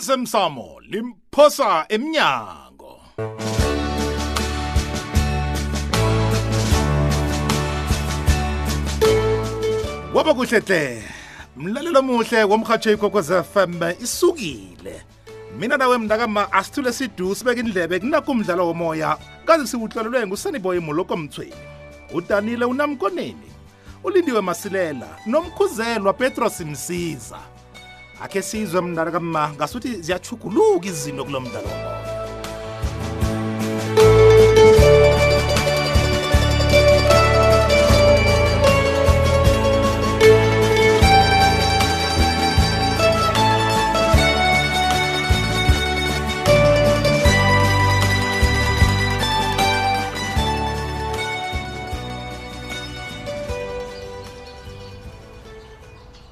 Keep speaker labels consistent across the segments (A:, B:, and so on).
A: osemsamo limphosa emnyango waba kuhle hle mlalelo omuhle womhatsho ikwekwez fm isukile mina nawe mntakama asithule sidu sibeke indlebe kunakho umdlalo womoya kazi siwuhlolelwe ngusaniboy moloko mthweni udanile unamkoneni ulindiwe masilela nomkhuzelwa petros msiza akhe sizwe mndala kamma ngasuthi ziyachuguluka izinto kulo mdlalo womoya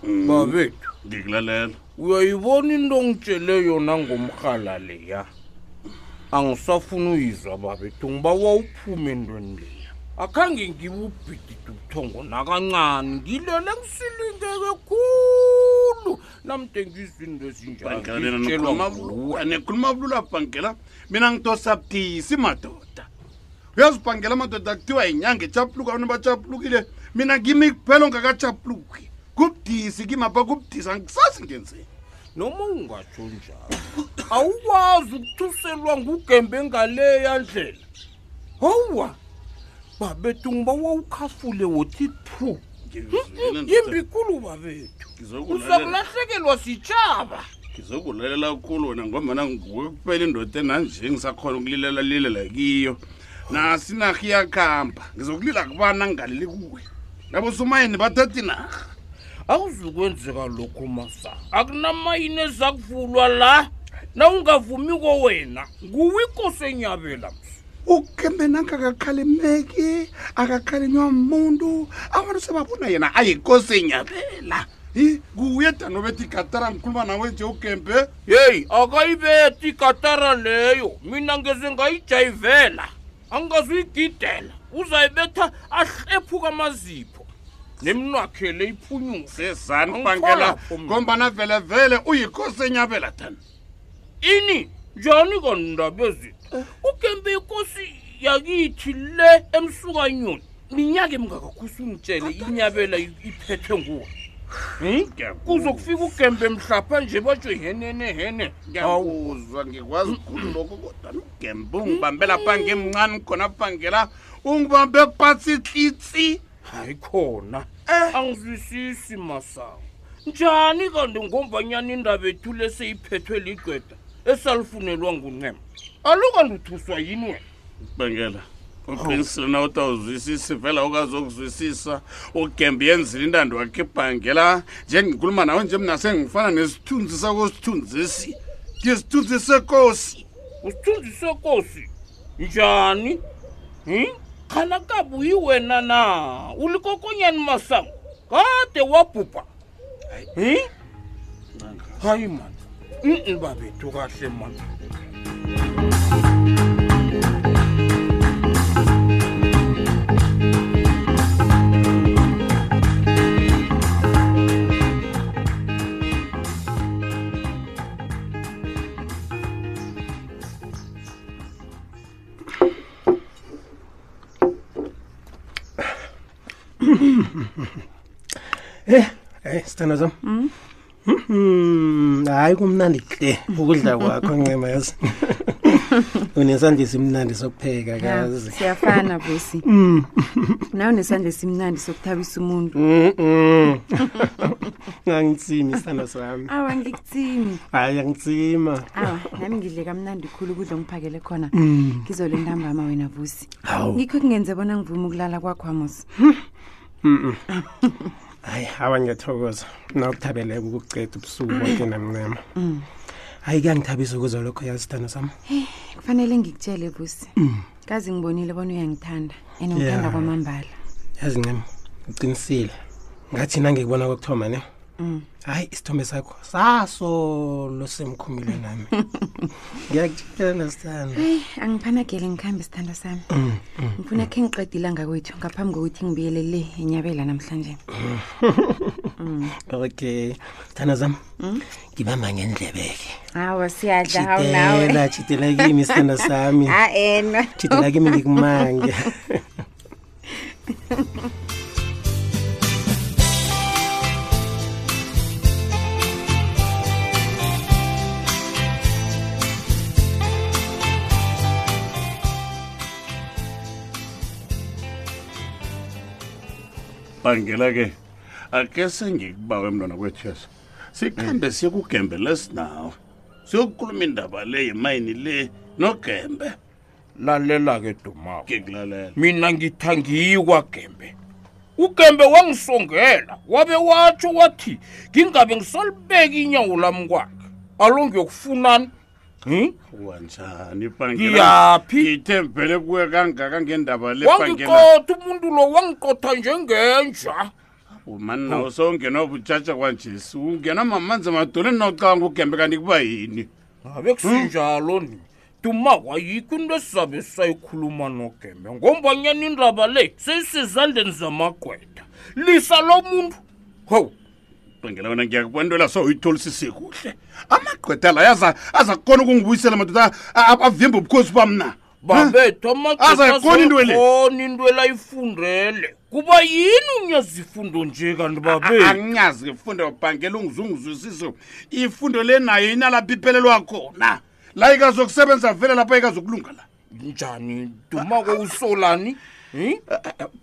B: babethu
C: ngikulalela
B: uyayibona into ngitshele yona ngomrhala leya angisafuni uyizwa babethu ngiba wawuphume entweni leya akhange ngibubhidide ubuthongo nakancane ngilele ngisilingeke khulu namde ngizinto
C: bhankela lena nikhuluma bulu- nikhuluma eh, bulula bhankela mina ngitosabutisi madoda uyazibhankela madoda kuthiwa yinyanga echapuluka abantu bachapulukile mina kimi kuphela ongakachapuluki kubudisi kimi apha kubudisa angisazi ngenzeni
B: noma ungatsho njalo awukwazi ukuthuselwa ngugembe ngaleya ndlela howa babethu ngiba wawukhafule wothi two
C: Ngizwile ndoda.
B: Hmm? yimbi khulu babethu
C: Ngizokulalela-
B: uzakulahlekelwa sitshaba
C: ngizokulalela kulu wena ngomana nguwe kuphela indoda enanje ngisakhona ukulilela lilela kiyo nasi inarha iyakuhamba ngizokulila kubana ngingaleli kuwe abosomayini bathatha inarha
B: awuzukwenzeka lokhu masa akunamayini ezakuvulwa la na ungavumi ko wena nguwikosi enyabela msi
C: ugembe nangakakhalimeki akakhalinywa muntu abantu sebabona yena ayikosi nyabela i kuye danobeti katara ngikhuluma nawe nje ugembe
B: yeyi akayibeti ikatara leyo mina ngeze ngayijayivela angingazuyigidela uzayibetha ahlephuka amazipho nemnwakhele iphunyuke
C: sezani
B: Angithola
C: bangela
B: apho mina.
C: ngombana vele vele uyikosi nyabela tani
B: ini njani kandaba ezitha ugembe ikosi yakithi le emsukanyoni minyaka emngakakhusi ungitshele inyabela i- iphethwe nguwe kuzokufika ugembe mhlapha nje batsho ihenenehene awu
C: ngiyakuzwa ngikwazi khulu lokho kodwa ugembe ungibambela pangemncane khona bangela ungibambe patsitlitsi
B: hayi khona angizwisisi masango njani kanti ngombanyana indaba ethu leseyiphethwe ligqeda esalifunelwa nguncema alukanti uthuswa yini wena
C: bangela uqinisile na utawuzwisisi vela ukazokuzwisisa ugembe yenzile intando wakhe ibhangela njengikhuluma nawe nje mna sengifana nesithunzi sakosithunzisi ngesithunzi sekosi
B: usithunzi sekosi njani hmm? khana kabuyi wena na ulikokonyani masango kade wabhubha hmm? hayi mani mm babethu kahle mani
D: hayi sithanda sam Mhm, hayi kumnandi kule ukudla kwakho ncema yazi unesandla esimnandi sokupheka
E: Ya,
D: kazi
E: siyafana busi
D: Mm.
E: nawe nesandla esimnandi sokuthabisa umuntu
D: Mhm. angitsimi sithanda sami
E: awa ngikuthini
D: hayi angitsima
E: awa nami ngidle kamnandi khulu ukudla ongiphakele khona ngizole ntambama wena busi
D: Mm. hawu
E: ngikho kungenze bona ngivume ukulala kwakho amosi
D: hayi hawa ngiyathokoza mna ukuthabeleka ukukuceda ubusuku bonke namncema hayi kuyangithabisa ukuzwa lokho yazi sithanda sam
E: kufanele ngikutshele busi kazi ngibonile bona uyangithanda and
D: Mm. Ya.
E: ngithanda kwamambala
D: yazi ncema uqinisile ngathi nangikubona kokuthoma ne
F: Mm.
D: hayi isithombe sakho sasolo semkhumile nami ngiyakutshela nasithanda
E: eyi angiphanagele ngikhambe isithanda sami
D: Mm,
E: ngifuna khe ngiqedile ngakwethu ngaphambi kokuthi ngibuyelele inyabela namhlanje
D: okay thana zam
F: Mm.
D: ngibamba ngendlebeke
E: hawa siyadla hawu
D: jidela
E: nawe
D: jidela kimi isithanda sami
F: Ah.
E: a ena
D: jidela kimi ngikumange
C: bangela ke ake sengikubawe mntwana kwethesa sikhambe siye kugembe lesinawe siyokukhuluma indaba le yimayini le nogembe
B: lalela ke dumawo
C: ngikulalela
B: mina ngithangiyi kwagembe ugembe wangisongela wabe watsho wathi ngingabe ngisalibeka inyawo lami kwakhe alo ngiyokufunani Hmm?
C: wanjani ibhangela?
B: Ngiyaphi?
C: ngithembele kuwe kangaka ngendaba le bhangela
B: wangiqotha umuntu lo wangiqotha njengenja
C: mani nawo sowungena butshatsha kwanjesi ungena mamanzi emadoleni nawucabanga ugembe kanti kuba yini
B: ngabe
C: Hmm?
B: kusinjalo nini dumako ayikho into esizabe sayikhuluma nogembe ngombanyana indaba le seyisezandleni zamagqwetha lisa lo muntu
C: Hmm?
B: hawu
C: bangela wena ngiyakubona into laso uyitholisise kuhle amagqwetha la aza aza kukona ukungibuyisela madoda a- a- avimbe ubukhosi bam na
B: babethu
C: Azayikhona into le?
B: amagqethakhona into elayifundele kuba yini unyazifundo nje kanti babethu
C: anginyazi ngifunde ubhangela ungizungizwisise ifundo le nayo inalapha iphelelwa khona la ikazokusebenza vele lapha ikazokulunga la
B: njani dumako usolani Hmm?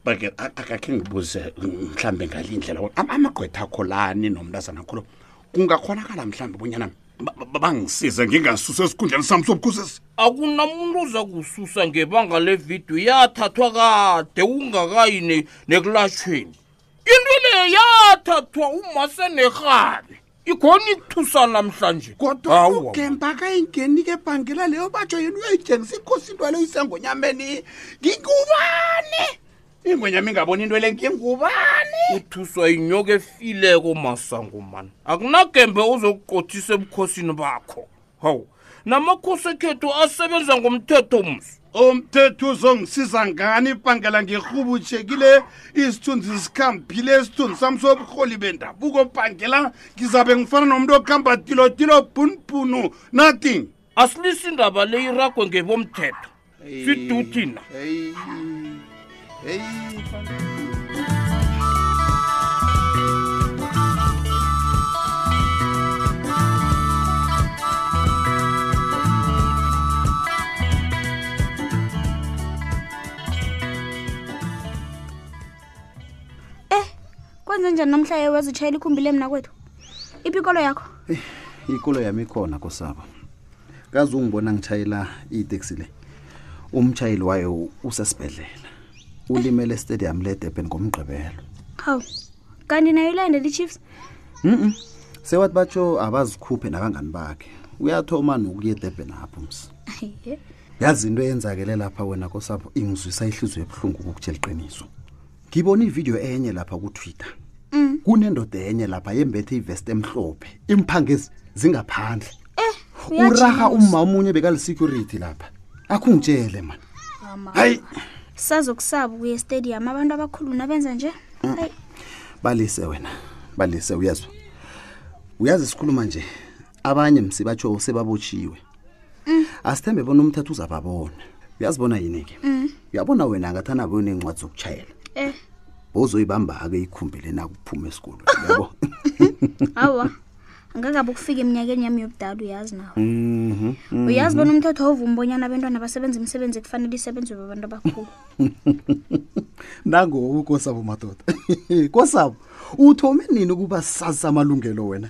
C: bhangela akakhe ngibuze mhlawumbe ngale indlela amagqwetha akho lani nomntazana kholo kungakhonakala mhlawumbe bunyana bangisize ngingasuswa esikhundleni sami sobukhosesi
B: akunamuntu oza kususa ngebanga levidiyo yathathwa kade ungakayi ne- nekulatshweni into le yathathwa umase nerhabe ikhona ikuthusa namhlanje
C: kodwa
B: Awa.
C: ugemba akayingeni ke bhangela leyo batsho yena uyoyitshengisa ikhosi into leyo isengonyameni ngingubani ingonyama ingaboni into le ngingubani
B: uthuswa yinyoka efileko masango mani akunagembe ozokuqothisa ebukhosini bakho hawu namakhosi ekhethu asebenza ngomthetho msi
C: umthetho uzongisiza ngani ibhangela ngirhubutshekile isithunzi sikhambile isithunzi sami sobuholi bendabuko bhangela ngizabe ngifana nomntu okuhamba tilotilo bhunubhunu nothing
B: asilisi indaba le iragwe ngebomthetho siduthina
C: Hey, hey, Bhangela.
G: kwenze Eh, njani nomhlaye wezitshayela ikhumbile mna kwethu ipikolo yakho
H: ikolo yami ikhona kosabo kaze ungibona ngitshayela iteksi le umtshayeli wayo usesibhedlela ulimele estadium ledurban ngomgqibelo
G: hawu kanti nayo ilandela i-chiefs
H: mm sewathi batsho abazikhuphe nabangani bakhe uyathoma nokuya edurban apho ms
G: Ayiye.
H: yazi into eyenzakele lapha wena kosapho ingizwisa ihliziyo ebuhlungu ukukutshela iqiniso ngibona ividiyo enye lapha kutwitter
G: Mm.
H: kunendoda enye lapha yembethe ivest emhlophe imphangezi zingaphandle
G: Uyathi
H: uraha
G: mos.
H: umma omunye bekalisecurity lapha akhungitshele mani hayi
G: sazokusaba ukuya estadium abantu abakhulu nabenza nje hayi
H: balise wena balise uyazwa uyazi sikhuluma nje abanye msibatsho sebabotshiwe asithembe bona umthetho uzababona uyazibona yini-ke uyabona wena angathana beyona iy'ncwadi zokutshayela
G: Eh.
H: bozoyibamba-ke ikhumbile nakuphuma esikolweni yabo
G: awa angakabe ukufika eminyakeni yami yobudala uyazi nawe uyazi bona umthetho awuvumi bonyana abantwana basebenza imisebenzi ekufanele isebenzwe babantu abakhulu
H: nangoku kosabo madoda kosabo uthome nini ukuba sazi samalungelo wena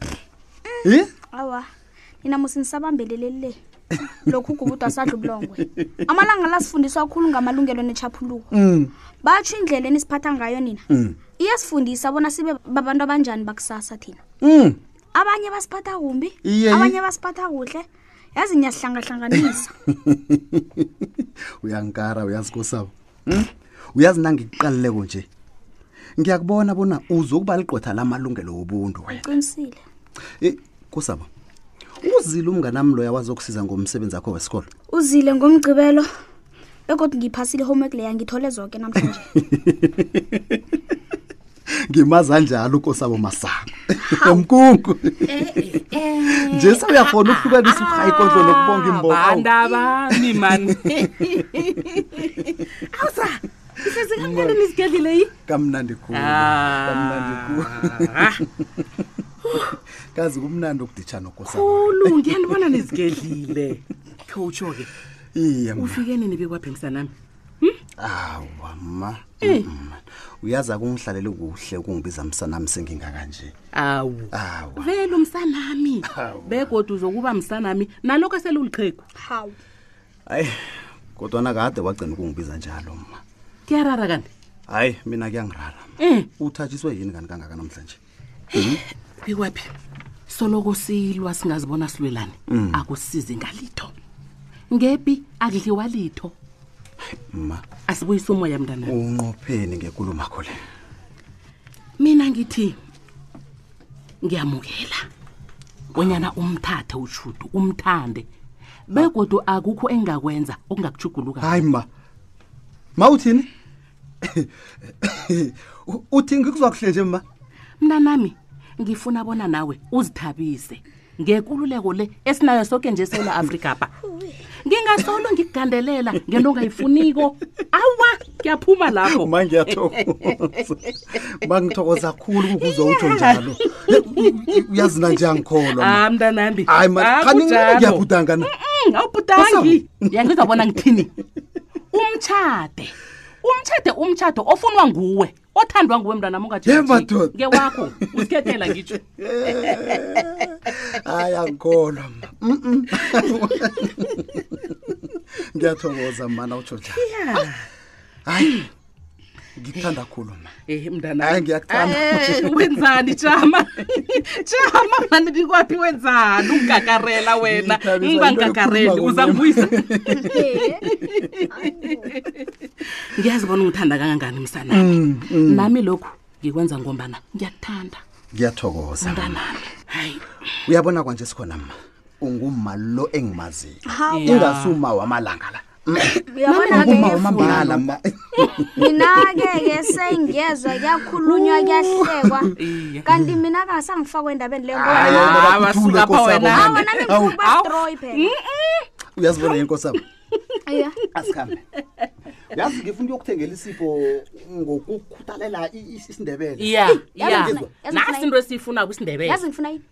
H: Eh?
G: awa nina musinisabambeleleli le lokhu ugubudwa sadla ubulongwe amalanga la sifundiswa kakhulu ngamalungelo netshaphuluko
H: Mm.
G: batsho indlela enisiphatha ngayo nina iyasifundisa bona sibe babantu abanjani bakusasa thina
H: Mm.
G: abanye basiphatha kumbi
H: Iye, iye.
G: abanye basiphatha kuhle yazi niyazihlangahlanganisa
H: uyankara uyazi kosabo mm? uyazi nangikuqaleleko nje ngiyakubona bona uzokuba ligqwetha lamalungelo wobuntu wena
G: uqinisile
H: Eh, kosabo uzile umnganami loya wazokusiza ngomsebenzi akho wesikolo
G: uzile ngomgcibelo bekodwa ngiyiphasile homework leya ngithole zoke namhlanje
H: ngimaza njalo ukosabo masango mkungu nje sawuyafona ukuhlukanisa ubuhayikondlo nokubonga imboka
I: bami mani awusa isesekamnandi nizigedlile yi
H: kamnandi khulu
B: Ah.
H: kamnandi khulu kazi kumnandi ukuditshana ukosabo
I: ulu ngiyanibona nizigedlile khowutsho-ke
H: iye ma.
I: ufike nini bekwaphi msanami
H: awa ma
I: Eh.
H: Mm, ma. uyazi akungihlalele kuhle ukungibiza msanami sengingakanje
I: awu
H: awa
I: vele umsanami begodwa uzokuba msanami nalokho eseluliqhegu
G: hawu
H: hayi kodwana kade wagcina ukungibiza njalo ma
I: kuyarara kanti
H: hayi mina kuyangirara
I: um
H: uthatshiswe yini kani kangaka namhlanje
I: bikwaphi soloko silwa singazibona silwelane
H: Mm.
I: akusizi ngalitho ngepi akudliwa litho
H: ma
I: asibuyise umoya
H: Oh,
I: mntanami
H: unqopheni ngekulumakho le
I: mina ngithi ngiyamukela bonyana umthathe ushudu umthande begodwa akukho engingakwenza okungakujuguluka
H: hayi ma ma uthini U- uthi ngikuzwa kuhle nje ma
I: mntanami ngifuna bona nawe uzithabise ngekululeko le esinayo soke nje esewula afrika ba ngingasolo ngikugandelela ngento ongayifuniko awa kuyaphuma lapho
H: ma Oh, ngiyathokoza ma ngithokoza khulu kukuzwa utsho njalo uyazi nanje angikholwa ma.
I: Ah, mntanami Ah,
H: hayi ma khani ngiyabhudanga na
I: Mm, awubhudangi yangizwa bona ngithini umtshade umtshade umtshado ofunwa nguwe othandwa nguwe mntwana
H: Ye, madoda.
I: ngewakho uzikhethela ngitsho
H: hayi angikholwa ma Mm-mm. ngiyathokoza mana utsho njalo hayi ngikuthanda khulu ma
I: Eh
H: Hayi,
I: mntana.
H: ngiyakuthanda.
I: Eh, wenzani Jama? Jama mani bikwapi wenzani ungakarela wena?
H: Ngithabiswa
I: Ungangakareli
H: yinto yokukhuluma
I: uzangivuyisa.
G: Eh,
I: Ngiyazibona ungithanda kangangani msana. Nami lokhu ngikwenza ngombana ngiyakuthanda
H: ngiyathokoza ma.
I: mntanami. Hayi.
H: uyabona kwanje sikhona ma unguma lo engimaziyo
G: Hawu.
H: ingasuma wamalanga la
G: uyabona ke
H: unguma
G: ke
H: wamambala ma
G: mina-ke-ke sengiyezwa kuyakhulunywa kuyahlekwa
I: Iye.
G: kanti mina kasangifakwa endabeni leyo
H: Hayi,
G: ngoba
H: hayi,
I: Ah,
H: bakuthule
I: basuka pha
H: Nkosi yabo,
I: wena.
H: man.
G: awa nami ngifuna
H: Hawu,
G: ukuba stroyi phela
H: uyazibona yini nkosabo
G: Iya.
H: asikhambe uyazi ngifuna ukuyokuthengela isipho ngokukhuthalela i- i- isindebele
I: Yeah, yeah.
H: ngizwa.
G: Yazi ngifuna
I: Nasi into Mm. esifuna kusindebele.
G: yazi ngifuna yini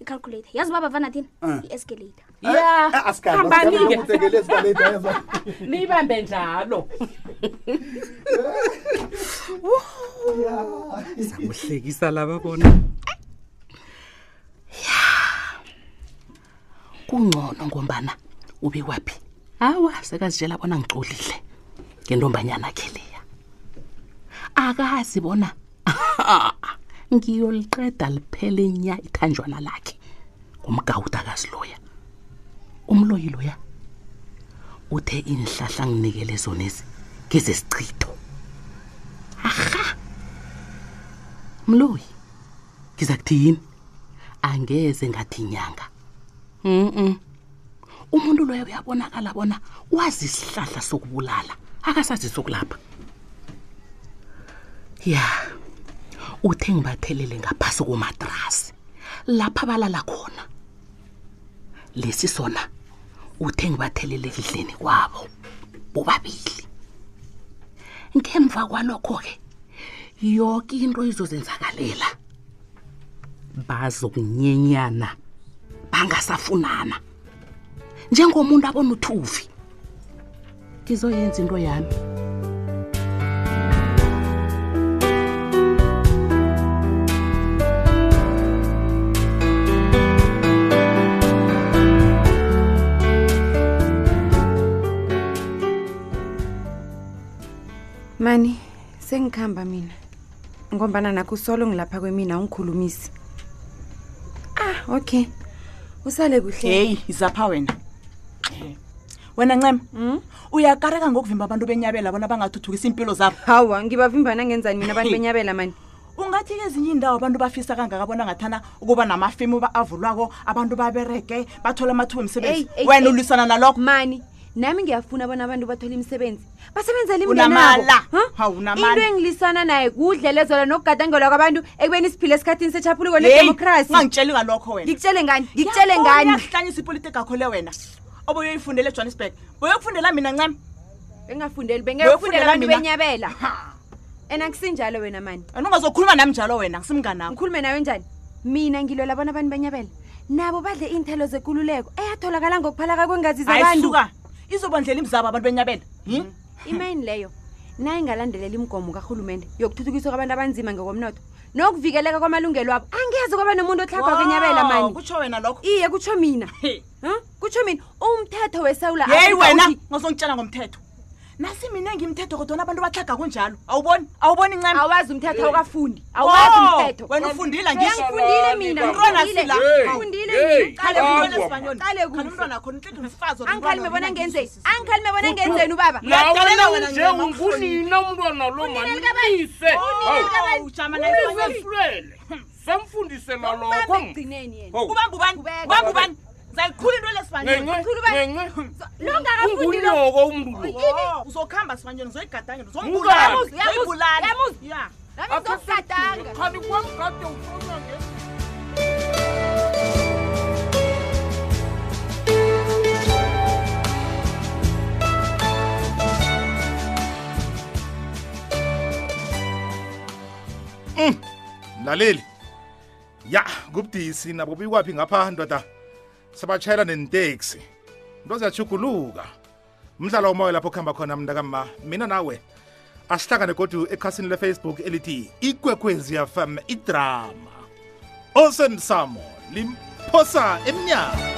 G: i-calculator yazi uba bavana thini
I: Ah.
G: i-escalator
I: Yeah.
H: Ah, asikhambe,
I: Hambani-ke.
H: asikhambe, ngokuthengela isibelede, uyazwa.
I: Niyibambe njalo.
J: uhlekisa laba bona
I: Kungcono ngombana ube kwaphi? Hawa, sekazijela bona ngixolile. Ngentombanyana ke leya. Akazi bona. Ngiyoliqeda liphele nya ithanjwana lakhe. Umgawuda kaziloya. Umloyi loya. Uthe inhlahla nginikele zona ezi ngeze sichitho. Aha. Mloyi. Ngizakuthini? Angeze ngathi inyanga. Mhm. Umuntu loyo uyabonakala bona wazi isihlahla sokubulala, akasazi sokulapha. Ya. Uthe ngibathelele ngaphasi komatrasi. Lapha balala khona. Lesi sona uthe ngibathelele edleni kwabo. Bobabili. Ngemva kwalokho ke yonke into izozenzakalela. Bazokunyenyana. bangasafunana njengomuntu abona uthuvi ngizoyenza into yami
E: mani sengikhamba mina ngombana nakho usolo ngilapha kwemina ungikhulumisi ah okay usale kuhle
F: heyi izapha wena wena ncema uyakareka ngokuvimba abantu benyabela bona bangathuthukisa impilo zabo
E: hawa ngibavimba nangenzani mina abantu benyabela mani
F: ungathi-ke ezinye iindawo abantu bafisa kangaka bona ngathana ukuba namafemu ba- avulwako abantu babereke bathole amathuba
E: Eyi,
F: emsebenzi
E: eyi,
F: wena
E: eyi.
F: ulwisana nalokho
E: mani
K: nami ngiyafuna bona abantu bathole imisebenzi basebenzele
F: Unamala.
K: imndenabo into engilisana naye kudle lezola nokugadangelwa kwabantu ekubeni isiphile esikhathini sechapuluko nedemokrasi
F: ungangitsheli ngalokho wena
K: ngikutshele ngani ngikutshele ngani
F: yahlanyisa ipolitiki akho le wena obuyoyifundela ejohannesburg boyokufundela mina ncam
K: bengafundeli bengeyokufundela
F: Beyokufundela
K: abantu
F: mina.
K: benyabela and akusinjalo wena mani
F: wena ungazokhuluma nami njalo wena ngisimngani akho
K: ngikhulume nawe njani mina ngilwela bona abantu benyabela nabo badle iinthelo zekululeko eyatholakala ngokuphalaka kwengazi
F: Hayi,
K: zabantu Mm.
F: suka. izobandlela imzabo abantu benyabela Hmm?
K: imayini leyo nayingalandelela imigomo karhulumende yokuthuthukiswa kwabantu abanzima ngokomnotho nokuvikeleka kwamalungelo abo angeze kwaba nomuntu otlhagwa
F: Wow,
K: kwenyabela mani
F: kutsho wena lokho
K: iye kutsho mina Huh? kutsho mina umthetho wesewula
F: yeyi
K: Afrika
F: wena
K: uthi-
F: ngazongitshela ngomthetho nasi mina ngimthetho kodwana abantu bahlaga kunjalo awuboni awuboni ncam
K: awazi umthetho awukafundi awazi umthetho
F: wena ufundile ngisho
K: Ngiyangifundile mina
F: Umntwana sila.
K: ngifundile
F: Uncle,
K: ankhalime bona ngenzeni ankhalime bona ngenzeni ubaba
B: lawe nje ungunina umntwana lo manise
F: ujamanaiulele
B: samfundisela lokho Hawu.
F: kubanga ubani kubanga ubani zayikhula into
B: ungunoko umntu lo
F: uzokuhamba sibanyoni uzoyigadangela
B: Mngani.
F: uzoyibulala ya
A: Mm, mlaleli ya kubudisi nabo bikwaphi ngapha ndoda sabatshayela nenteksi into ziyajuguluka mdlalo womoya lapho kuhamba khona mntakama mina nawe asihlangane godu ekhasini lefacebook elithi ikwekwezi yafam idrama osemsamo limphosa emnyango